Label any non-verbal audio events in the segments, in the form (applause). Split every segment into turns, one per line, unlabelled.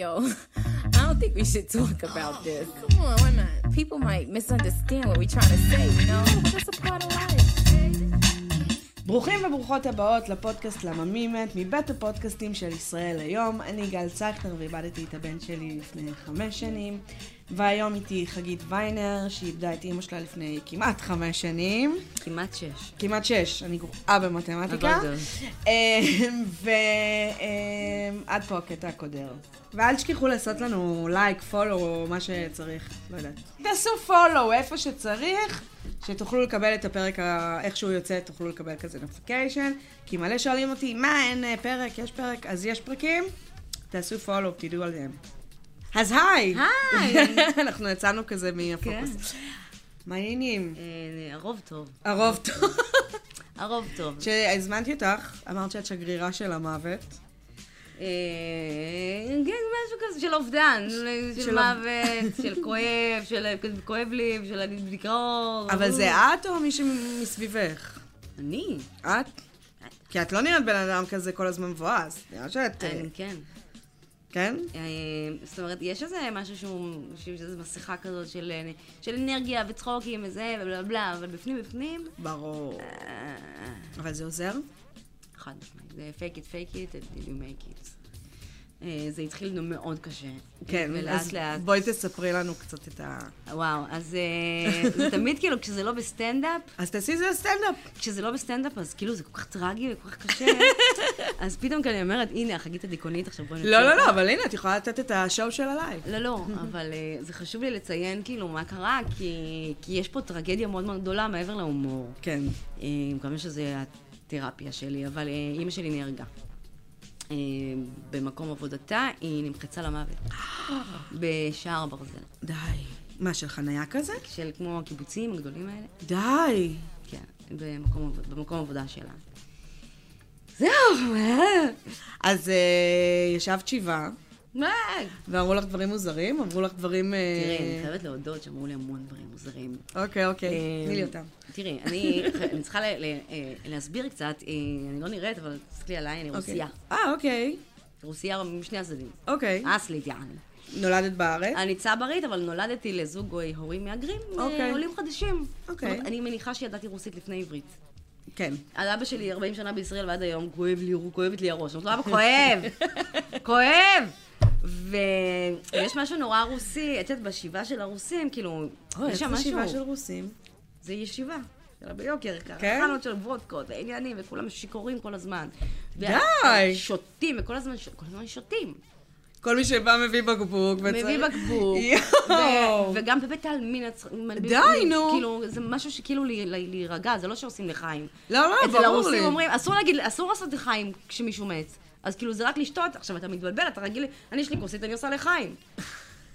Yo, (laughs) I don't think we should talk about this.
Come on, why not?
People might misunderstand what we're trying to say, you know? That's a part of life.
ברוכים וברוכות הבאות לפודקאסט למה מי מת, מבית הפודקאסטים של ישראל היום. אני גל צקטר ואיבדתי את הבן שלי לפני חמש שנים, והיום איתי חגית ויינר, שאיבדה את אימא שלה לפני כמעט חמש שנים,
כמעט שש.
כמעט שש, אני גרועה במתמטיקה. אמ,
אבל
ועד אמ, פה הקטע הקודר. ואל תשכחו לעשות לנו לייק, פולו, או מה שצריך, לא יודעת. תעשו פולו איפה שצריך, שתוכלו לקבל את הפרק, ה- איך שהוא יוצא, תוכלו לקבל כזה נוטיפיקיישן, כי מלא שואלים אותי, מה, אין אה, פרק, יש פרק, אז יש פרקים? תעשו פולו, תדעו עליהם. אז היי!
היי!
(laughs) אנחנו יצאנו כזה מהפוקוס. מה העניינים?
אה, הרוב טוב,
הרוב טוב.
הרוב טוב.
כשהזמנתי אותך, אמרת שאת שגרירה של המוות.
אה, כן, משהו כזה של אובדן, של-
של
של מוות, של כואב, של כואב לי, של אני בדיכאון.
אבל זה את או מישהו מסביבך?
אני,
את? כי את לא נראית בן אדם כזה כל הזמן מבואס. נראה שאת... אה,
אני כן.
כן?
אה, זאת אומרת, יש איזה משהו שהוא, שזה מסכה כזאת של אה, של אנרגיה וצחוקים וזה ובלה בלה, אבל בפנים בפנים,
ברור.
אה,
אבל זה עוזר?
חד משמעית. זה fake it, fake it, and you make it. אה, זה התחיל לנו מאוד קשה.
כן. אז
ולאט לאט.
בואי תספרי לנו קצת את ה...
וואו, אז אה, זה תמיד כאילו, כשזה לא בסטנדאפ,
אז תעשי זה סטנדאפ.
כשזה לא בסטנדאפ, אז כאילו זה כל כך טרגי וכל כך קשה, אז פתאום כאילו אני אומרת, הנה, החגית הדיכאונית, עכשיו בואי נצא.
(laughs) לא, לא, לא, אבל הנה, את יכולה לתת את השואו של הלייב.
לא, לא, אבל אה, זה חשוב לי לציין כאילו מה קרה, כי, כי יש פה טרגדיה מאוד מאוד גדולה מעבר להומור.
כן.
אה, כמה שזה התרפיה שלי, אבל אה, אימא שלי נהרגה. אה, במקום עבודתה, היא נמחצה
(gasps)
למוות. בשער ברזל.
די. מה, של חנייה כזה?
של כמו הקיבוצים הגדולים האלה.
די.
כן, במקום, עבוד- במקום עבודה שלה. זהו, אה,
אז אה, ישבת שבעה,
מה?
ואמרו לך דברים מוזרים? אמרו לך דברים... אה,
תראי, אני חייבת להודות שאמרו לי המון דברים מוזרים.
אוקיי, אוקיי.
אה,
תני לי אותם.
תראי, אני אני צריכה ל- ל- אה, להסביר קצת, אה, אני לא נראית, אבל תסתכלי עליי, אני רוסיה.
אוקיי. אה, אוקיי.
רוסיה משני הצדדים.
אוקיי. כן.
אסלית, יעני.
נולדת בארץ?
אני צברית, אבל נולדתי לזוג אה, הורים מהגרים, אה,
אוקיי.
עולים חדשים.
אוקיי.
זאת אומרת, אני מניחה שידעתי רוסית לפני עברית.
כן.
על אבא שלי 40 שנה בישראל ועד היום, כואב לי, כואבת לי הראש. אמרתי לו, אבא, כואב! כואב! ויש משהו נורא רוסי, את יודעת, בשבעה של הרוסים, כאילו, יש שם משהו.
ישיבה של רוסים.
זה ישיבה. שלה ביוקר, ככה,
כן?
חנות של וודקות, ועניינים, וכולם שיכורים כל הזמן. די! שותים, וכל הזמן, ש- כל הזמן שותים.
כל מי שבא מביא בקבוק. וצריך-
מביא בקבוק,
(laughs) יואו.
ו- וגם בבית העלמין, הצ- מלבין-
די, נו.
כאילו, זה משהו שכאילו ל- ל- להירגע, זה לא שעושים לחיים.
לא, לא,
אצל
ברור לי.
הרוסים אומרים, אסור להגיד, אסור לעשות לחיים כשמישהו מת. אז כאילו זה רק לשתות, עכשיו אתה מתבלבל, אתה רגיל, אני יש לי כוסית, אני עושה לחיים.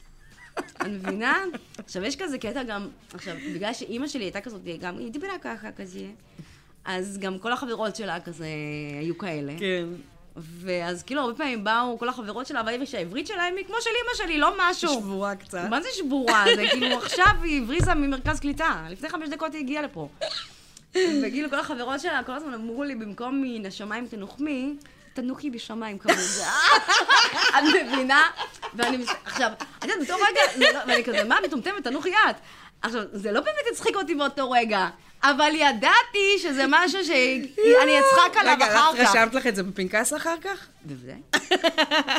(laughs) אני מבינה? עכשיו יש כזה קטע גם, עכשיו, בגלל שאימא שלי הייתה כזאת, היא גם, היא דיברה ככה, כזה, אז גם כל החברות שלה כזה היו כאלה.
כן.
ואז כאילו הרבה פעמים באו כל החברות שלה, והאימא שהעברית שלהם היא כמו של אימא שלי, לא משהו.
שבורה קצת.
מה זה שבורה? זה כאילו עכשיו היא הבריזה ממרכז קליטה. לפני חמש דקות היא הגיעה לפה. וכאילו כל החברות שלה כל הזמן אמרו לי, במקום מן השמיים תנוחמי, תנוחי בשמיים כמובן. (laughs) את מבינה? ואני מס... עכשיו, את יודעת, באותו רגע, זה לא- ואני כזה, מה מטומטמת, תנוחי את. עכשיו, זה לא באמת הצחיק אותי באותו רגע, אבל ידעתי שזה משהו שאני אצחק עליו
רגע,
אחר
לך
כך.
רשמת לך את זה בפנקס אחר כך?
בוודאי.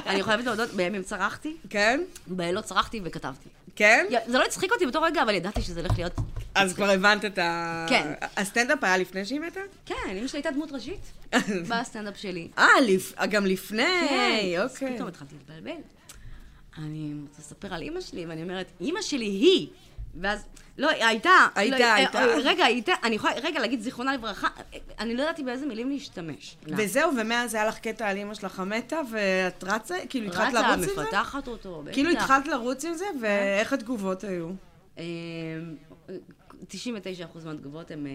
אני חייבת להודות, בימים צרחתי,
כן?
בלילות צרחתי וכתבתי.
כן?
יא, זה לא הצחיק אותי באותו רגע, אבל ידעתי שזה הולך להיות...
אז כבר הבנת את ה...
כן.
הסטנדאפ היה לפני שהיא מתה?
כן, אמא שלי הייתה דמות
(laughs)
ראשית בסטנדאפ שלי. כן,
אה, לפ- גם לפני,
אז
אוקיי.
פתאום התחלתי להתבלבל. אני רוצה לספר על אימא שלי, ואני אומרת, אימא שלי היא! ואז, לא, הייתה.
הייתה,
לא, אה,
הייתה.
אה, רגע, הייתה, אני יכולה רגע להגיד זיכרונה לברכה, אה, אני לא ידעתי באיזה מילים להשתמש.
וזהו, ומאז היה לך קטע על אמא שלך המתה, ואת רצה? כאילו התחלת
רצה,
לרוץ עם זה?
מפתחת אותו, בטח.
כאילו התחלת לרוץ עם זה,
כן.
ואיך התגובות היו?
אמ, 99% מהתגובות הן, אה,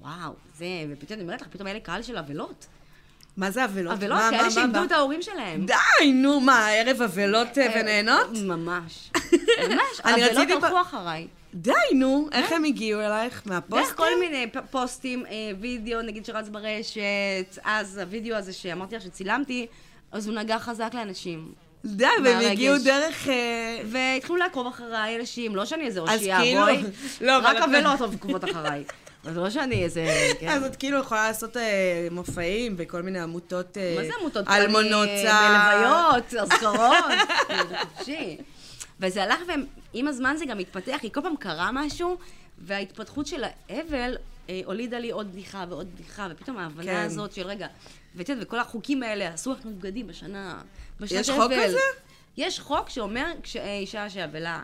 וואו, זה, ופתאום אני אומרת לך, פתאום היה לי קהל של אבלות.
מה זה אבלות?
אבלות,
מה- מה-
כאלה
מה-
שאיבדו
מה?
את ההורים שלהם.
די, נו, מה, ערב אבלות אה, ונהנות? (laughs)
ממש. ממש,
אני רציתי
האבלות
ב-
הלכו אחריי.
די, נו, איך הם הגיעו אלייך?
דרך
מהפוסטים?
אה? כן, כל מיני פ- פוסטים, אה, וידאו, נגיד שרץ ברשת, אז הוידאו הזה שאמרתי לך שצילמתי, אז הוא נגע חזק לאנשים.
די, והם
מהרגש.
הגיעו דרך... אה,
והתחילו לעקוב אחריי אנשים, לא שאני איזה
אז
אושייה,
כאילו-
בואי,
לא,
רק
אבל-
אבלות עוקבות אחריי. אז לא שאני
(laughs)
איזה... כן.
אז את כאילו יכולה לעשות אה, מופעים בכל מיני עמותות... אה,
מה זה עמותות?
אלמונות
אני-
צה"ל.
בלוויות,
(laughs)
אזכרות, חופשי. וזה הלך, ועם הזמן זה גם התפתח, כי כל פעם קרה משהו, וההתפתחות של האבל אה, הולידה לי עוד בדיחה ועוד בדיחה, ופתאום ההבנה
כן.
הזאת של רגע, ואת יודעת, וכל החוקים האלה, עשו אנחנו בגדים בשנה, בשנת
יש חוק
אבל.
כזה?
יש חוק שאומר כשאישה שאבלה,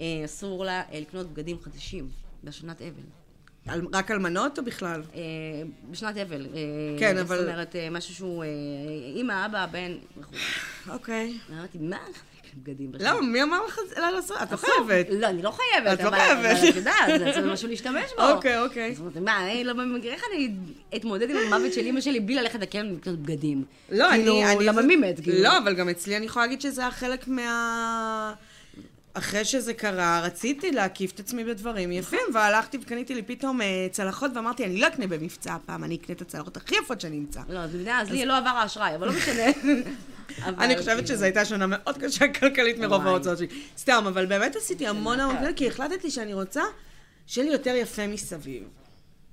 אה, אסור לה אה, לקנות בגדים חדשים בשנת אבל.
אל- רק אלמנות או בכלל?
אה, בשנת אבל. אה,
כן,
זאת
אבל-
אומרת, אה, משהו שהוא... אה, אימא, אבא, הבן וכו'.
אוקיי.
אמרתי, מה? בגדים בשנת
למה? מי אמר לך את זה? לא, לא, את לא
אסור.
חייבת.
לא, אני לא חייבת.
את לא
אבל-
חייבת.
אבל את יודעת, זה- זה משהו להשתמש בו.
אוקיי, אוקיי.
אז אמרתי, מה, אה, לא, במקרה, איך אני אתמודד עם המוות של אימא שלי בלי ללכת לקרן ולקנות בגדים?
לא, אני...
כאילו,
אני-
למה מי מת? כאילו?
לא, אבל גם אצלי אני יכולה להגיד שזה היה חלק מה... אחרי שזה קרה, רציתי להקיף את עצמי בדברים יפים, והלכתי וקניתי לי פתאום אה, צלחות, ואמרתי, אני לא אקנה במבצע הפעם, אני אקנה את הצלחות הכי יפות שאני אמצא.
לא, אז מבינה, אז לי לא עבר האשראי, אבל לא משנה. אבל
(laughs) אני חושבת
כאילו,
שזו הייתה שנה מאוד קשה כלכלית מרוב
וואי.
ההוצאות שלי. סתם, אבל באמת עשיתי המון המון כאלה, כי החלטתי שאני רוצה שיהיה לי יותר יפה מסביב.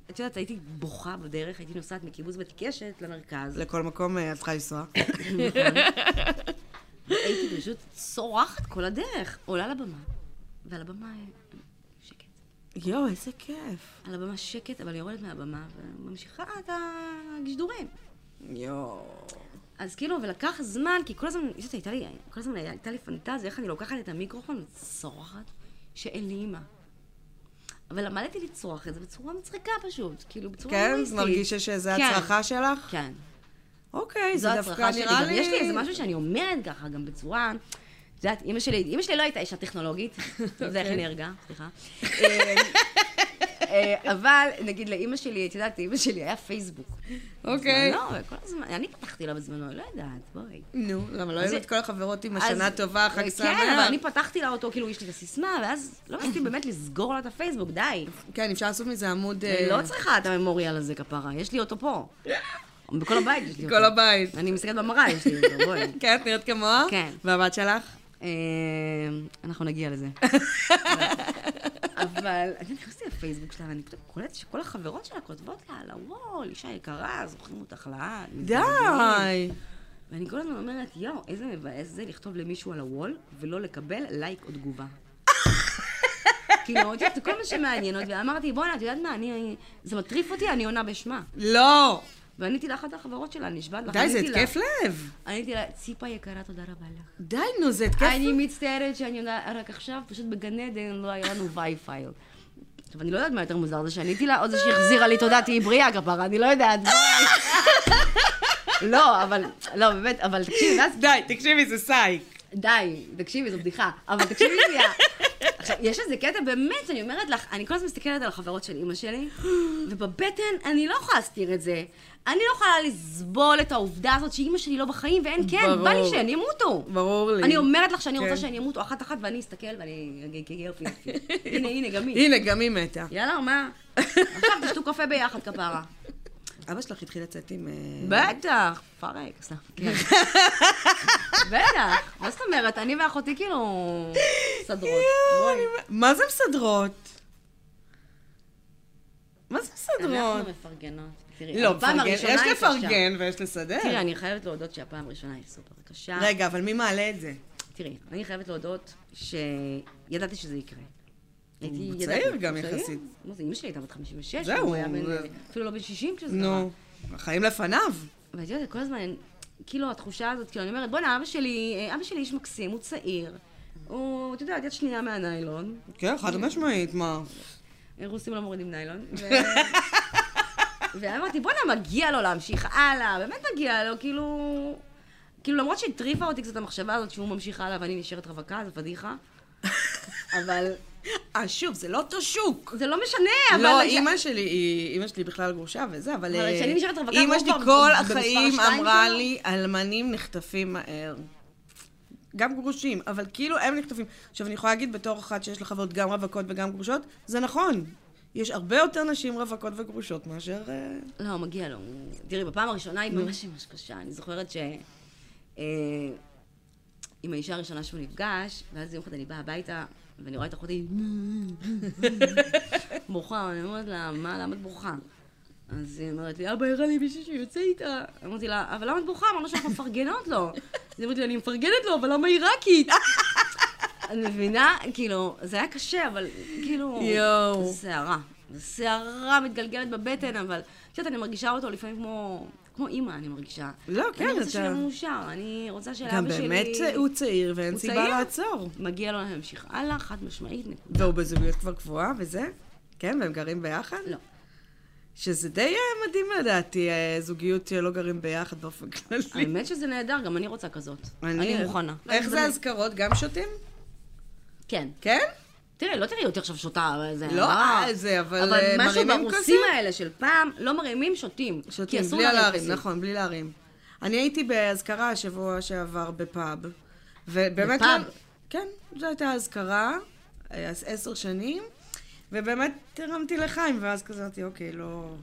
את יודעת, הייתי בוכה בדרך, הייתי נוסעת מקיבוץ בית קשת למרכז.
לכל מקום אה, את צריכה לנסוע.
הייתי פשוט צורחת כל הדרך. עולה לבמה, ועל הבמה אה, שקט.
יואו, איזה כיף.
על הבמה שקט, אבל יורדת מהבמה וממשיכה את הגישדורים.
יואו.
אז כאילו, ולקח זמן, כי כל הזמן, את יודעת, הייתה לי, כל הזמן הייתה לי פנטזיה, איך אני לוקחת את המיקרופון וצורחת שאין לי אימא. אבל למדתי לצרוח את זה בצורה מצחיקה פשוט, כאילו, בצורה
כן? את
הומוריסטית.
מרגישה שזו
כן.
הצרחה שלך?
כן.
אוקיי,
זו
זה דווקא
הצרכה שלי.
נראה
גם
לי...
יש לי איזה משהו שאני אומרת ככה, גם בצורה... את יודעת, אימא שלי, אימא שלי לא הייתה אישה
(laughs)
טכנולוגית, זה
אוקיי.
איך היא נהרגה, סליחה. אה, אה, אבל, נגיד לאימא שלי, את יודעת, לאימא שלי היה פייסבוק.
אוקיי.
בזמנו, כל הזמן, אני פתחתי לה בזמנו, היא לא יודעת, בואי.
נו, למה לא
אז-
היו את כל החברות עם
אז-
השנה טובה, חג שמח?
כן, אבל אני פתחתי לה אותו, כאילו, יש לי את הסיסמה, ואז
(laughs)
לא רציתי באמת לסגור לה את הפייסבוק, די.
כן, אפשר לעשות מזה עמוד...
אני
אה,
לא צריכה את הממוריאל הזה כפרה, יש לי אותו פה. בכל הבית יש לי אותו.
כל הבית.
אני מסתכלת במראה, יש לי אותו, בואי.
כן, את נראית כמוה?
כן.
והבת שלך?
אה, אנחנו נגיע לזה. אבל אני נכנסתי לפייסבוק שלה ואני פתאום קולטת שכל החברות שלה כותבות לה על הוול, אישה יקרה, זוכרים אותך לעד. מתגעגעים."
די.
ואני כל הזמן אומרת, יואו, איזה מבאס זה לכתוב למישהו על הוול ולא לקבל לייק או תגובה. כאילו, את יודעת, זה כל מה שמעניין אותי, ואמרתי, בואנה, את יודעת מה, אני... זה מטריף אותי, אני עונה בשמה.
לא.
ועניתי לאחת החברות שלה, נשבעת לך,
די, זה
עניתי לה-
התקף לב.
עניתי לה, ציפה יקרה, תודה רבה לך.
די, נו, זה התקף לב.
אני מצטערת שאני יודעת, רק עכשיו פשוט בגן עדן לא היה לנו וי-פיי. עכשיו, אני לא יודעת מה יותר מוזר זה שעניתי לה, או זה שהחזירה לי תודה, תהיי בריאה כפרה, אני לא יודעת. לא, אבל, לא, באמת, אבל תקשיבי, ואז
די, תקשיבי, זה סייק.
די, תקשיבי, זו בדיחה. אבל תקשיבי שנייה. עכשיו, יש איזה קטע באמת, אני אומרת לך, אני כל הזמן מסתכלת על החברות של אימא שלי, ובבטן אני לא יכולה להסתיר את זה. אני לא יכולה לסבול את העובדה הזאת שאימא שלי לא בחיים, ואין כן, בא לי
ברור.
שהן ימותו.
ברור לי.
אני אומרת לך שאני רוצה
כן.
שהן ימותו אחת-אחת, ואני אסתכל ואני אגיד, "כן,
(laughs)
יופי, יופי. הנה, הנה, גם היא.
הנה, גם היא מתה.
יאללה,
(laughs)
מה? עכשיו תשתו קפה ביחד, כפרה.
אבא שלך התחיל לצאת עם... אה,
בטח, פרק, סתם. כן. (laughs) בטח, מה זאת אומרת? אני ואחותי כאילו מסדרות.
יואו,
בואי.
אני- מה זה מסדרות? מה זה
אנחנו
מסדרות?
מפרגנות. תראי,
לא,
הפעם
מפרגן-
הראשונה
יש
היא קשה.
לפרגן ויש לסדר.
תראי, אני חייבת להודות שהפעם הראשונה היא סופר קשה.
רגע, אבל מי מעלה את זה?
תראי, אני חייבת להודות שידעתי שזה יקרה. הייתי-
הוא
ידעתי-
צעיר גם
הוא צעיר?
יחסית.
מה זה, אמא שלי הייתה בת 56,
זהו,
הוא היה בן,
זה-
אפילו לא בן 60 כשזה קרה.
נו,
לא.
החיים לפניו.
ואת יודעת, כל הזמן, כאילו, התחושה הזאת, כאילו, אני אומרת, בואנה, אבא שלי, אה, אבא שלי איש מקסים, הוא צעיר. הוא, אתה יודע, יד שנייה מהניילון.
כן, חד משמעית, מה?
רוסים לא מורידים ניילון.
(laughs)
ו... ואמרתי, בואנה, מגיע לו להמשיך הלאה, באמת מגיע לו, כאילו... כאילו, למרות שהטריפה אותי קצת המחשבה הזאת שהוא ממשיך הלאה ואני נשארת רווקה, זו
(laughs)
פדיחה. אבל
אה, שוב, זה לא אותו שוק.
זה לא משנה, אבל...
לא, אימא שלי, היא- אימא שלי בכלל גרושה וזה, אבל...
אבל
אה,
כשאני נשארת רווקה,
אימא
הוא
שלי
כבר
כל
במספר
החיים
שתיים
אמרה
שלו?
לי, אלמנים נחטפים מהר. גם גרושים, אבל כאילו הם נחטפים. עכשיו, אני יכולה להגיד בתור אחת שיש לה חברות גם רווקות וגם גרושות, זה נכון. יש הרבה יותר נשים רווקות וגרושות מאשר... אה,
לא, מגיע לו. הוא- תראי, בפעם הראשונה היא ממש ממש קשה. אני זוכרת ש... אה, עם האישה הראשונה שהוא נפגש, ואז יום אחד אני באה הביתה, ואני רואה את אחותי בוכה, אני אומרת לה, מה, למה את בוכה? אז היא אומרת לי, אבא הראה לי מישהו שיוצא איתה. אמרתי לה, אבל למה את בוכה? אמרנו שאנחנו מפרגנות לו. אז היא אמרת לי, אני מפרגנת לו, אבל למה עיראקית? (laughs) אני מבינה, כאילו, זה היה קשה, אבל כאילו...
יואו.
זה סערה. זה סערה מתגלגלת בבטן, אבל את יודעת, אני מרגישה אותו לפעמים כמו... כמו אימא, אני מרגישה.
לא, כן,
אני רוצה
אתה-
שיהיה מאושר, אני רוצה שלאבא שלי...
גם באמת אה, הוא צעיר ואין
הוא
סיבה
צעיר.
לעצור.
מגיע לו להמשיך הלאה, חד משמעית, נקודה.
והוא בזוגיות כבר קבועה וזה? כן, והם גרים ביחד?
לא.
שזה די אה, מדהים לדעתי, אה, זוגיות שלא גרים ביחד באופן כללי.
האמת שזה נהדר, גם אני רוצה כזאת. אני מוכנה.
איך זה
אני-
אזכרות? גם שותים?
כן.
כן?
תראי, לא תראי אותי עכשיו שותה, אבל זה...
לא,
אה,
אה, זה, אבל,
אבל
אה,
משהו
מרימים
ברוסים
כזה?
האלה של פעם, לא מרימים, שותים.
שותים,
כי אסור
בלי
להרים
להרים,
כוסית.
נכון, בלי להרים. אני הייתי באזכרה השבוע שעבר בפאב. ובאמת...
בפאב?
לא- כן, זו הייתה אזכרה, אה, אז עשר שנים, ובאמת הרמתי לחיים, ואז כזה אמרתי, אוקיי, לא...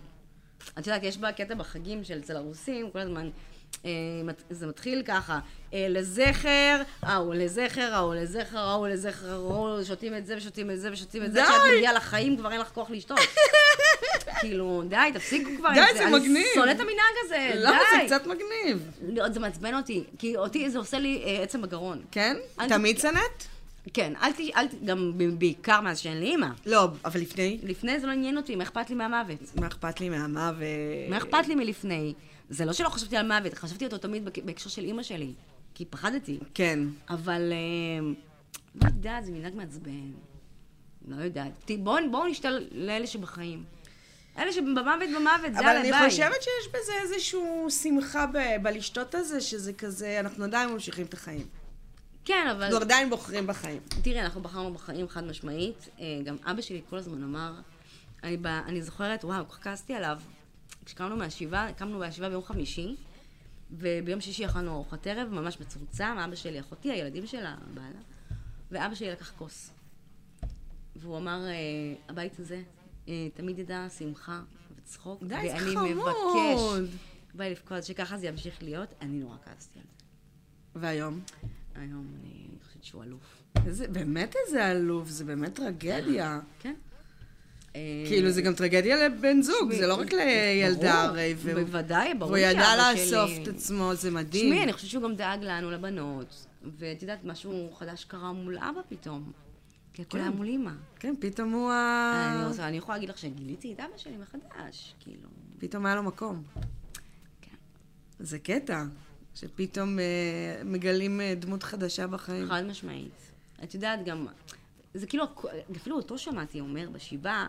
את יודעת, יש בה קטע בחגים של אצל הרוסים, כל הזמן. אה, מת- זה מתחיל ככה, אה, לזכר, ההוא לזכר, ההוא לזכר, ההוא לזכר, ההוא שותים את זה ושותים את זה ושותים את זה,
די!
כשאת מגיעה לחיים כבר אין לך
(laughs)
כוח לשתות. כאילו, די, תפסיקו כבר עם
די,
זה.
זה מגניב.
אני שונאת את המנהג הזה, די.
למה לא, זה קצת מגניב?
לא, זה מעצבן אותי, כי אותי זה עושה לי אה, עצם בגרון.
כן?
אל ת-
תמיד שנאת?
כן, אל ת... אל ת... גם ב- בעיקר מאז שאין לי אימא.
לא, אבל לפני.
לפני זה לא עניין אותי, מה אכפת לי מהמוות?
מה אכפת לי מהמוות?
מה אכפת לי מלפני? זה לא שלא חשבתי על מוות, חשבתי אותו תמיד בק- בהקשר של אימא שלי, כי פחדתי.
כן.
אבל... אה, לא יודעת, זה מנהג מעצבן. לא יודעת. ת- בואו בוא נשתל לאלה שבחיים. אלה שבמוות במוות, זה
אבל
הלוואי.
אני חושבת שיש בזה איזשהו שמחה ב- בלשתות הזה, שזה כזה, אנחנו עדיין ממשיכים את החיים.
כן, אבל...
אנחנו עדיין בוחרים בחיים.
תראי, אנחנו בחרנו בחיים חד משמעית. אה, גם אבא שלי כל הזמן אמר, אני, ב, אני זוכרת, וואו, כל כך כעסתי עליו. כשקמנו מהשבעה, קמנו מהשבעה ביום חמישי, וביום שישי אכלנו ארוחת ערב, ממש מצומצם, אבא שלי, אחותי, הילדים שלה, בעלה, ואבא שלי לקח כוס. והוא אמר, אה, הבית הזה אה, תמיד ידע שמחה וצחוק,
די, זה
ואני
חמוד."
מבקש, בא לי לבכות שככה זה ימשיך להיות, אני נורא כעסתי על זה.
והיום?
היום אני חושבת שהוא אלוף.
איזה, באמת איזה עלוב, זה באמת טרגדיה.
כן? אה,
כאילו, זה גם טרגדיה לבן זוג, זה לא רק לילדה
ברור,
הרי. והוא-
בוודאי, ברור
והוא ידע
שאבא
לאסוף
שלי-
את עצמו, זה מדהים.
תשמעי, אני חושבת שהוא גם דאג לנו, לבנות, ואת יודעת, משהו חדש קרה מול אבא פתאום. כי הכל היה מול אימא.
כן, אה. פתאום הוא ה...
אני רוצה- אני יכולה להגיד לך שגיליתי את אבא שלי מחדש, כאילו.
פתאום היה לו מקום.
כן.
זה קטע, שפתאום אה, מגלים אה, דמות חדשה בחיים.
חד משמעית. את יודעת, גם... זה כאילו, הכ- אפילו אותו שמעתי אומר בשבעה,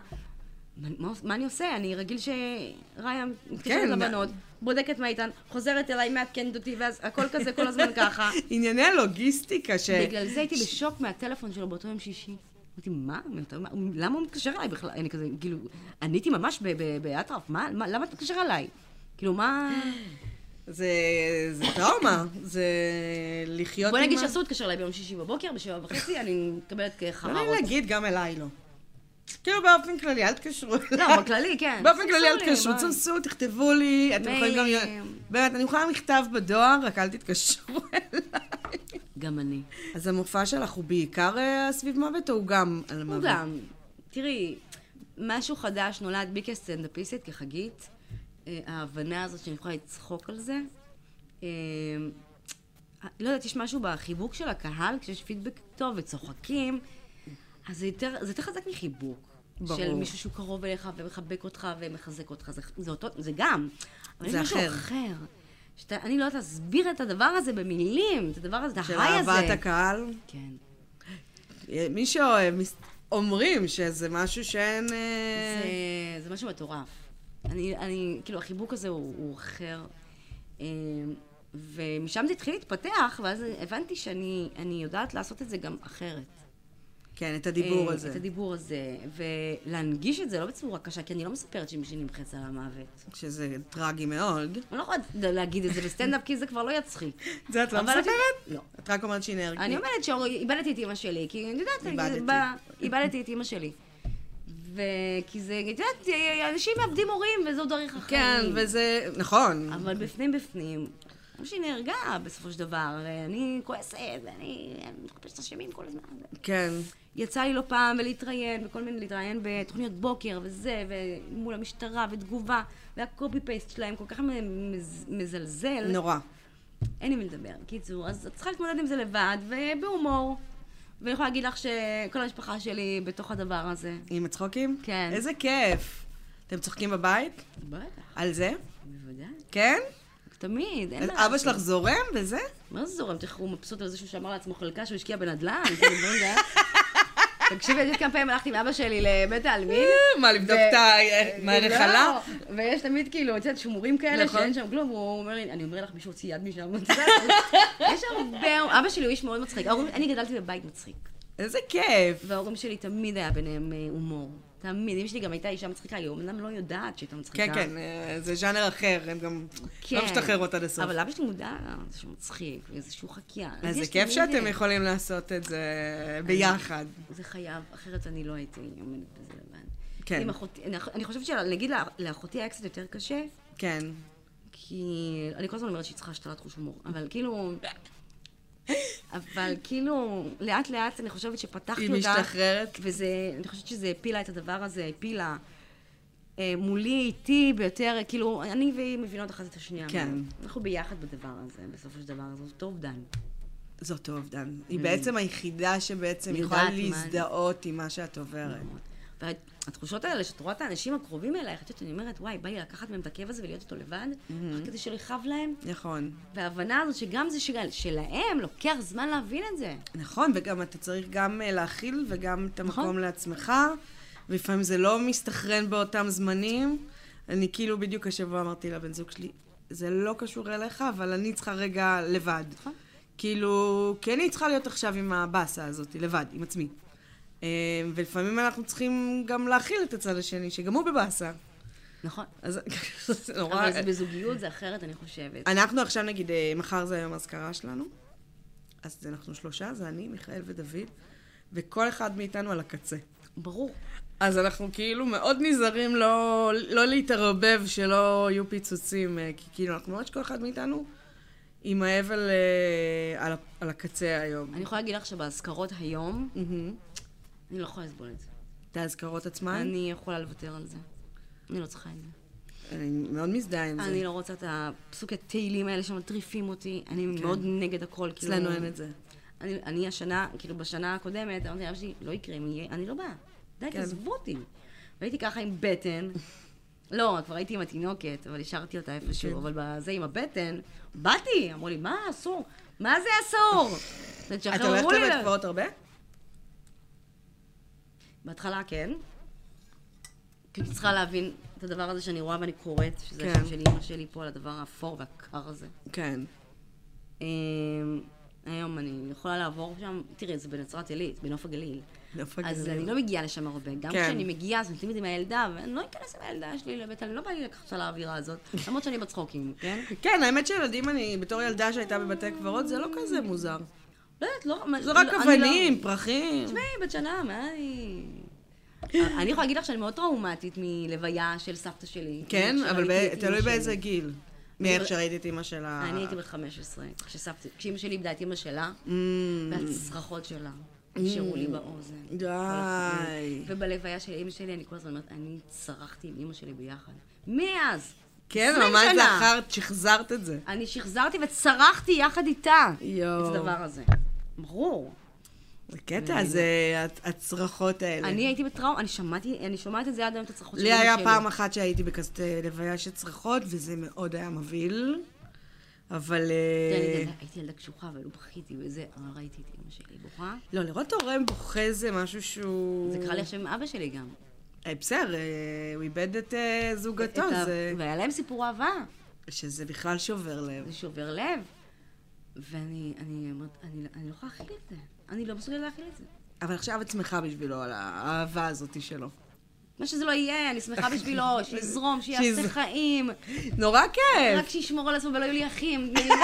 מה, מה- מה אני עושה? אני רגיל שרעיה מתקשרת
כן,
לבנות, בודקת מה איתן, חוזרת אליי, מעדכנת אותי, ואז הכל כזה כל הזמן ככה.
(laughs) ענייני הלוגיסטיקה ש...
בגלל זה הייתי בשוק מהטלפון שלו באותו יום שישי. אמרתי, מה? מאותו- מה- למה הוא מתקשר אליי בכלל? אני כזה, כאילו, עניתי ממש ב- ב- באטרף, מה? מה- למה אתה מתקשר אליי? כאילו, מה...
(gasps) זה, זה טראומה, זה לחיות
בוא
עם
נגיד
ה-
שאסור להתקשר אליי ביום שישי בבוקר, בשבע וחצי, אני מקבלת
לא נעים
כחררות.
להגיד, גם אליי לא. כאילו באופן כללי, אל תקשרו אליי.
לא, בכללי, כן.
באופן כללי אל
תעשו לי,
תקשרו,
מה?
צנסו, תכתבו לי, אתם יכולים גם...
מיילים.
באמת, אני יכולה מכתב בדואר, רק אל תתקשרו אליי.
גם אני.
אז המופע שלך הוא בעיקר אה, סביב מוות, או הוא גם על
הוא
מוות?
גם. תראי, משהו חדש נולד בי כסטנדאפיסטית, כחגית. אה, ההבנה הזאת שאני יכולה לצחוק על זה. אה, לא יודעת, יש משהו בחיבוק של הקהל, כשיש פידבק טוב וצוחקים, אז זה יותר, זה יותר חזק מחיבוק.
ברור.
של מישהו שהוא קרוב אליך ומחבק אותך ומחזק אותך, זה, זה אותו, זה גם. אבל
זה
יש משהו
אחר.
אחר. שאתה, אני לא יודעת להסביר את הדבר הזה במילים, את הדבר הזה, את
של
ההיי הזה.
אהבת הקהל?
כן.
מי שאוהב, מס- אומרים שזה משהו שאין... אה,
זה- זה משהו מטורף. אני, אני, כאילו, החיבוק הזה הוא, הוא אחר. אה, ומשם זה התחיל להתפתח, ואז הבנתי שאני אני יודעת לעשות את זה גם אחרת.
כן, את הדיבור
אה,
הזה.
את הדיבור הזה, ולהנגיש את זה לא בצורה קשה, כי אני לא מספרת שמישהי נמחץ על המוות.
שזה טרגי מאוד.
אני לא יכולה להגיד את זה בסטנדאפ, כי זה כבר לא יצחיק.
זה את לא
אבל את-
מספרת?
לא.
את רק אומרת שהיא נהרגת.
אני אומרת שאיבדתי את אימא שלי, כי אני יודעת,
איבדתי.
ב- איבדתי את אימא שלי. וכי זה, את יודעת, אנשים מאבדים הורים, וזו דרך החיים.
כן, וזה... נכון.
אבל בפנים בפנים, כמו שהיא נהרגה בסופו של דבר, אני כועסת, ואני אני מחפשת אשמים כל הזמן.
כן.
יצא לי לא פעם ולהתראיין, וכל מיני, להתראיין בתוכניות בוקר וזה, ומול המשטרה ותגובה, והקופי פייסט שלהם כל כך מז- מזלזל.
נורא.
אין עם מי לדבר. קיצור, אז את צריכה להתמודד עם זה לבד, ובהומור. ואני יכולה להגיד לך שכל המשפחה שלי בתוך הדבר הזה.
עם הצחוקים?
כן.
איזה כיף. אתם צוחקים בבית?
בטח,
על זה?
בוודאי.
כן?
תמיד, אין
אז
מה
אבא שלך זורם בזה?
מה זה זורם? תכף הוא מבסוט על זה שהוא שמר לעצמו חלקה שהוא השקיע בנדל"ן, כאילו, דברים
(laughs)
כאלה. תקשיבי, את יודעת כמה פעמים הלכתי עם אבא שלי לבית העלמין?
מה, לבדוק
ו-
את
אה,
ה- (laughs) מה, הרחלה?
לא, ויש תמיד כאילו, את יודעת, שמורים כאלה
נכון.
שאין שם כלום, הוא אומר לי, אני אומר לך, מישהו הוציא יד
(laughs)
משם. את יודעת, יש הרבה, אבא שלי הוא איש מאוד מצחיק. ההורים- אני גדלתי בבית מצחיק.
איזה כיף.
וההורים שלי תמיד היה ביניהם אה, הומור. תמיד. אמא שלי גם הייתה אישה מצחיקה, היא אומנם לא יודעת שהיא הייתה מצחיקה.
כן, כן, אה, זה ז'אנר אחר, הם גם לא
כן.
משתחררות עד הסוף.
אבל אבא שלי מודע לזה שהוא מצחיק, וזה שהוא חקיין. אז
איזה
יש כן.
כיף
תמיד,
שאתם
אה,
יכולים לעשות את זה ביחד.
זה חייב, אחרת אני לא הייתי עומדת בזה לבד.
כן.
עם אחותי, אני- אני חושבת שנגיד לאחותי היה קצת יותר קשה,
כן.
כי אני כל הזמן אומרת שהיא צריכה השתלת חוש הומור, אבל כאילו... אבל כאילו, לאט לאט אני חושבת שפתחתי
היא
אותה.
משתחררת.
וזה, אני חושבת שזה הפילה את הדבר הזה, הפילה אה, מולי, איתי ביותר, כאילו, אני והיא מבינות אחת את השנייה.
כן.
אנחנו ביחד בדבר הזה, בסופו של דבר, זאת טוב דן.
זאת אובדן. היא בעצם היחידה שבעצם יכולה
Mm. יודעת מה-
להזדהות עם מה שאת עוברת.
והתחושות האלה, שאת רואה את האנשים הקרובים אלייך, את יודעת, אני אומרת, וואי, בא לי לקחת מהם את הכאב הזה ולהיות איתו לבד,
Mm-hmm.
רק כדי שלא יכאב להם.
נכון.
וההבנה הזאת שגם זה של- שלהם, לוקח זמן להבין את זה.
נכון, וגם אתה צריך גם אה, להכיל וגם את
נכון.
המקום לעצמך, ולפעמים זה לא מסתנכרן באותם זמנים. אני כאילו בדיוק השבוע אמרתי לבן זוג שלי, זה לא קשור אליך, אבל אני צריכה רגע לבד.
נכון.
כאילו, כי אני צריכה להיות עכשיו עם הבאסה הזאת, לבד, עם עצמי. אה, ולפעמים אנחנו צריכים גם להכיל את הצד השני, שגם הוא בבאסה.
נכון.
אז (laughs) זה נורא...
אבל זה בזוגיות, זה אחרת, אני חושבת.
אנחנו עכשיו נגיד, אה, מחר זה היום האזכרה שלנו, אז אנחנו שלושה, זה אני, מיכאל ודוד, וכל אחד מאיתנו על הקצה.
ברור.
אז אנחנו כאילו מאוד נזהרים לא, לא להתערבב, שלא יהיו פיצוצים, אה, כי כאילו אנחנו ממש כל אחד מאיתנו עם האבל אה, על, ה- על הקצה היום.
אני יכולה להגיד לך שבאזכרות היום,
מהמם.
אני לא יכולה לסבול את זה.
את האזכרות עצמן, אני...
אני יכולה לוותר על זה. אני לא צריכה את זה.
אני מאוד מזדהה עם
אני
זה.
לא רוצה את הפסוקי תהילים האלה שמטריפים אותי. אני מאוד נגד הכל, כאילו...
כן. אצלנו אין את זה.
אני, אני השנה, כאילו בשנה הקודמת, אמרתי לאבא שלי, לא יקרה, אם יהיה, אני לא באה. די,
כן.
תעזבו אותי. והייתי ככה עם בטן. לא, כבר הייתי עם התינוקת, אבל השארתי אותה
כן.
איפשהו, אבל בזה עם הבטן, באתי, אמרו לי, מה, אסור? מה זה אסור?
את הולכת לבית קברות הרבה?
בהתחלה כן. כי אני צריכה להבין את הדבר הזה שאני רואה ואני קוראת, שזה
כן.
השם של אימא שלי פה, על הדבר האפור והקר הזה.
כן.
אמ, היום אני יכולה לעבור שם, תראי, זה בנצרת עילית, בנוף הגליל.
נוף
אז
הגליל.
אני לא מגיעה לשם הרבה. גם
כן.
כשאני מגיעה, אז אני תמיד עם הילדה, ואני לא אכנס עם הילדה שלי לבית, אני לא בא לי לקחת אותה לאווירה
(laughs)
הזאת, למרות שאני בצחוקים, כן?
כן, האמת שילדים, אני בתור ילדה שהייתה בבתי קברות, זה לא כזה מוזר.
לא יודעת, לא... מה-
זה
לא-
רק
אני לא-
אבנים, פרחים.
תשמעי, בת שנה, מה
(laughs)
אני... אני יכולה להגיד לך שאני מאוד טראומטית מלוויה של סבתא שלי.
כן,
כשראיתי
אבל
את
ב-
אמא
תלוי
שלי.
באיזה גיל. מאיך
ב-
שראית את אימא שלה.
לא- אני הייתי בת 15, כשסבתא, כשאימא שלי איבדה את אימא שלה,
Mm.
והצרחות שלה נשארו לי באוזן.
די.
ובלוויה של אימא שלי, אני כל הזמן אומרת, אני צרחתי עם אימא שלי ביחד. מאז!
כן,
20
ממש
שנה.
לאחר שחזרת את זה.
אני שחזרתי וצרחתי יחד איתה
יואו.
את הדבר הזה. ברור.
זה קטע, זה הת- הצרחות האלה.
לא- אני הייתי בטראומה, אני שמעתי, אני שומעת את זה עד היום, את הצרחות של
לי
אימא שלי.
היה פעם אחת שהייתי בכזאת אה, לוויה של צרחות, וזה מאוד היה מבהיל. אבל... אה,
תראה, אני ילדה- הייתי ילדה קשוחה, אבל לא בכיתי וזה, אבל ראיתי את אימא שלי בוכה.
לא, לראות הורה בוכה זה משהו שהוא...
זה קרה לי עכשיו עם אבא שלי גם.
אה, בסדר, אה, הוא איבד את אה,
את
זוגתו,
ה-
זה...
והיה להם סיפור אהבה.
שזה בכלל שובר לב.
זה שובר לב. ואני אני אומרת, אני, אני לא יכולה להכיל את זה. אני לא מסוגלת להכיל את זה.
אבל עכשיו את שמחה בשבילו על האהבה הזאת שלו.
מה שזה לא יהיה, אני שמחה
(laughs)
בשבילו, שיזרום, שיעשה
שיז- כן.
חיים,
נורא
רק
כיף!
שישמור על עצמו ולא יהיו לי אחים. אני לא-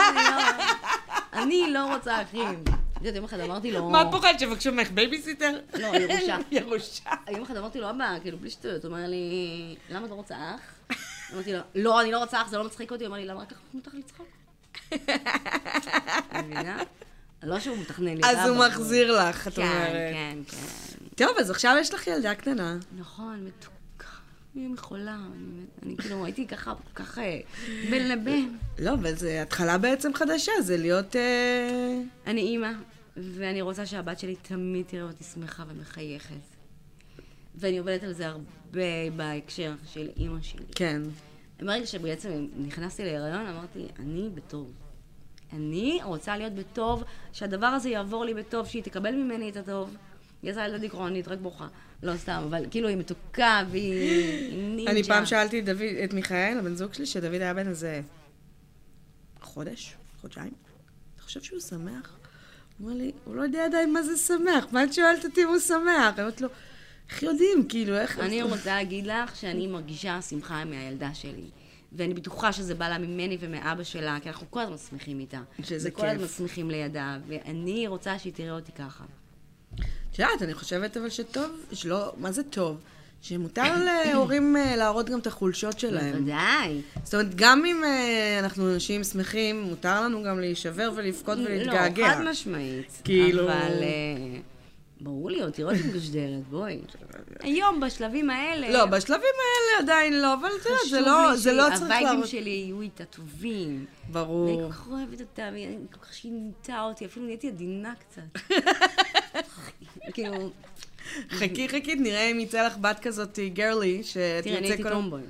אני לא
(laughs)
רוצה אחים. את יודעת, יום אחד אמרתי לו...
מה את פוחדת שיבקשו ממך בייביסיטר?
לא, ירושה.
(laughs) ירושה.
יום אחד אמרתי לו, אבא, כאילו, בלי שטויות, הוא אמר לי,
(laughs)
למה את לא רוצה אח? אמרתי לו, לא, אני לא רוצה אח, זה לא מצחיק אותי. הוא אמר לי, למה רק לך מותר לצחוק? מבינה? לא שהוא מתכנן לי.
אז
אבא,
הוא
אבל-
מחזיר לך, את
כן,
אומרת.
כן, כן.
טוב, אז עכשיו יש לך ילדה קטנה.
נכון, מתוקה. היא חולה. אני- אני כאילו הייתי ככה, כל כך אה, בין לבין.
לא, אבל זה התחלה בעצם חדשה, זה להיות... אה,
אני אימא, ואני רוצה שהבת שלי תמיד תראה אותי שמחה ומחייכת. ואני עובדת על זה הרבה בהקשר של אימא שלי.
כן.
ברגע שבעצם נכנסתי להיריון, אמרתי, אני בטוב. אני רוצה להיות בטוב, שהדבר הזה יעבור לי בטוב, שהיא תקבל ממני את הטוב. היא יצאה ילדה דיכאונית, רק בוכה. לא סתם, אבל כאילו היא מתוקה והיא היא נינג'ה.
אני פעם שאלתי את דוד- את מיכאל, הבן זוג שלי, שדוד היה בן איזה חודש, חודשיים. אתה חושב שהוא שמח? הוא אומר לי, הוא לא יודע עדיין מה זה שמח, מה את שואלת אותי אם הוא שמח? אני אומרת לו, איך יודעים, כאילו, (laughs) איך...
אני רוצה להגיד לך שאני מרגישה שמחה מהילדה שלי. ואני בטוחה שזה בא לה ממני ומאבא שלה, כי אנחנו כל הזמן שמחים איתה.
שזה
וכל הזמן
כיף.
שמחים לידה, ואני רוצה שהיא תראה אותי ככה.
את יודעת, אני חושבת אבל שטוב, שלא, מה זה טוב? שמותר להורים אה, להראות גם את החולשות שלהם.
בוודאי.
זאת אומרת, גם אם אה, אנחנו אנשים שמחים, מותר לנו גם להישבר ולבכות ולהתגעגע.
לא, חד משמעית.
כאילו-
אבל אה, ברור לי, עוד תראו אותי מגשדרת, בואי. היום, בשלבים האלה...
לא, בשלבים האלה עדיין לא, אבל אתה יודע,
חשוב
זה לא-
לי
זה לא צריך
שהווייבים
להראות...
שלי יהיו איתה טובים. ואני
ברור.
כל כך אוהבת אותה, והיא כל כך שינתה אותי, אפילו נהייתי עדינה
(laughs)
קצת. כאילו,
חכי חכי, נראה אם יצא לך בת כזאת גרלי, שתרצה
תראה, אני הייתי
כל-
טומבוי.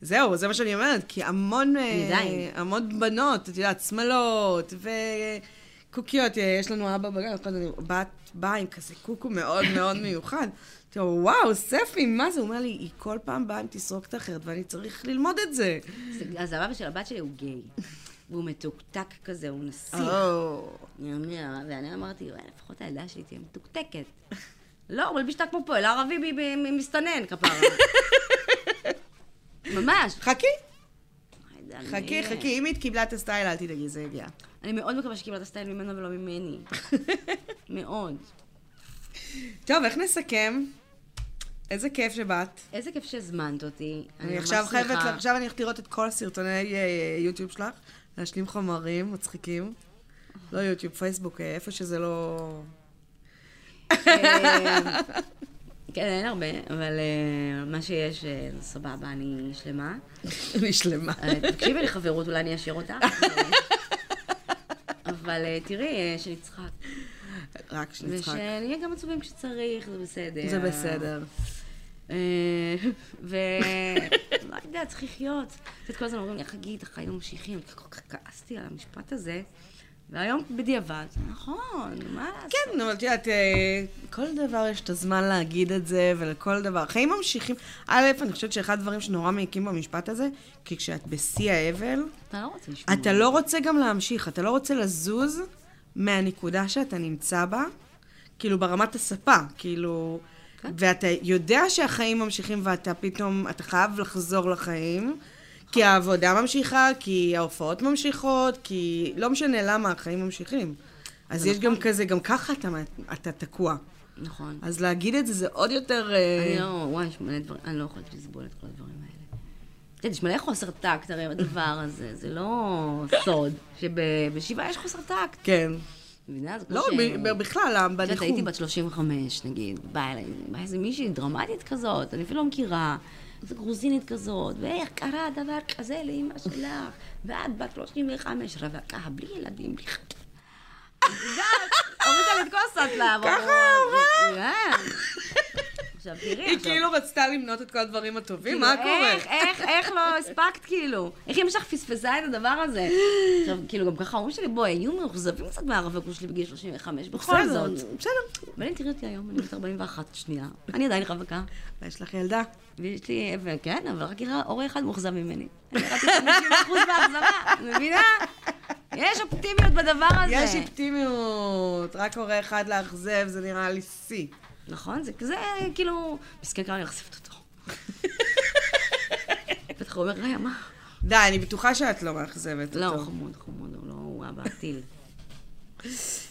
זהו, זה מה שאני אומרת, כי המון... אה,
עדיין.
המון בנות, את יודעת, שמלות, וקוקיות, אה, יש לנו אבא בגן, אז כל הזמן אני- בת באה עם כזה קוקו מאוד מאוד מיוחד. תראו, וואו, ספי, מה זה? הוא אומר לי, היא כל פעם באה עם תסרוקת אחרת, ואני צריך ללמוד את זה.
אז הבבא של הבת שלי הוא גיי. והוא מתוקתק כזה, הוא נסיך.
אה. או.
אני אומר, ואני אמרתי, "וואי, לפחות הילדה שלי תהיה מתוקתקת. לא, הוא מלביש אותה כמו פועל ערבי ב- ב- מ- מסתנן,
(laughs)
כפרה. ממש.
חכי,
זה אני-
חכי, חכי, אם היא קיבלה את הסטייל, אל תדאגי, זה יגיע.
אני מאוד מקווה שקיבלת סטייל ממנו ולא
(laughs)
ממני. מאוד.
טוב, איך נסכם? איזה כיף שבאת.
איזה כיף שהזמנת אותי.
אני
ממש
עכשיו חייבת,
שמחה.
עכשיו אני הולכת לראות את כל הסרטוני אה, יוטיוב שלך, להשלים חומרים מצחיקים. לא יוטיוב, פייסבוק, אה, איפה שזה לא... (laughs)
אה, כן, אין הרבה, אבל אה, מה שיש, אה, זה סבבה, אני שלמה.
אני שלמה.
אה, תקשיבי לי חברות, אולי אני אשאיר אותה. אבל אה, תראי, אה, שנצחק.
רק שנצחק.
ושנהיה גם עצובים כשצריך, זה בסדר.
זה בסדר.
אה, ו... לא יודעת, צריך לחיות. את יודעת, כל הזמן אומרים לי, חגית, החיים ממשיכים. כל כך כעסתי על המשפט הזה. והיום בדיעבד, נכון, מה לעשות?
כן, אבל את יודעת, אה, כל דבר יש את הזמן להגיד את זה, ולכל דבר. החיים ממשיכים. א', אני חושבת שאחד הדברים שנורא מעיקים במשפט הזה, כי כשאת בשיא האבל,
אתה לא רוצה לשמוע.
אתה לא רוצה גם להמשיך, אתה לא רוצה לזוז מהנקודה שאתה נמצא בה, כאילו ברמת הספה, כאילו...
כן.
ואתה יודע שהחיים ממשיכים ואתה פתאום, אתה חייב לחזור לחיים, כי העבודה ממשיכה, כי ההופעות ממשיכות, כי לא משנה למה, החיים ממשיכים. אז יש גם כזה, גם ככה אתה, אתה תקוע.
נכון.
אז להגיד את זה זה עוד יותר... אה,
אני לא, וואי, יש מלא דברים, אני לא יכולת לסבול את כל הדברים האלה. אתה יודע, יש מלא חוסר טקט הרי בדבר הזה, זה לא סוד, שבשבעה יש חוסר טקט.
כן.
מבינה? זה כמו
לא,
ש-
ב- בכלל,
את יודעת, הייתי
בניחום.
בת 35, נגיד, באה אליי באה איזה מישהי דרמטית כזאת, אני אפילו לא מכירה, איזה גרוזינית כזאת, ואיך קרה דבר כזה לאמא שלך, ואת בת 35, רווקה, בלי ילדים, בלי
(laughs)
חתום. הורידה לי את כל הסטלה.
ככה
אמרה? עכשיו תראי,
היא
עכשיו...
כאילו רצתה למנות את כל הדברים הטובים,
כאילו,
מה קורה?
איך, איך, איך לא הספקת, כאילו? איך אמא שלך פספסה את הדבר הזה? עכשיו, כאילו, גם ככה ההורים שלי, בואי, היו מאוכזבים קצת מהרווקות שלי בגיל 35, בכל
בסדר,
זאת.
בסדר.
אבל אם תראי אותי היום, אני בת 41 שנייה. אני עדיין רווקה.
יש לך ילדה.
ויש לי, אבל כן, אבל רק יראה- הורה אחד מאוכזב ממני. אני ירדתי 50% מהאכזבה, מבינה? יש אופטימיות בדבר הזה.
יש אופטימיות, רק הורה אחד לאכזב, זה נראה לי שיא.
נכון, זה כזה, כאילו, מסכן קרה לי לחשפת אותו.
(laughs)
בטח הוא אומר, ראיה, מה?
די, אני בטוחה שאת לא מאכזבת
לא, הוא
אותו.
חמוד, חמוד, הוא לא, הוא אבא טיל.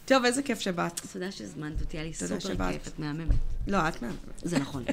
טוב, איזה כיף שבאת.
אז תודה שהזמנת אותי, היה לי
תודה
סופר
שבאת.
כיף, את מהממת.
לא, את מהממת.
זה נכון.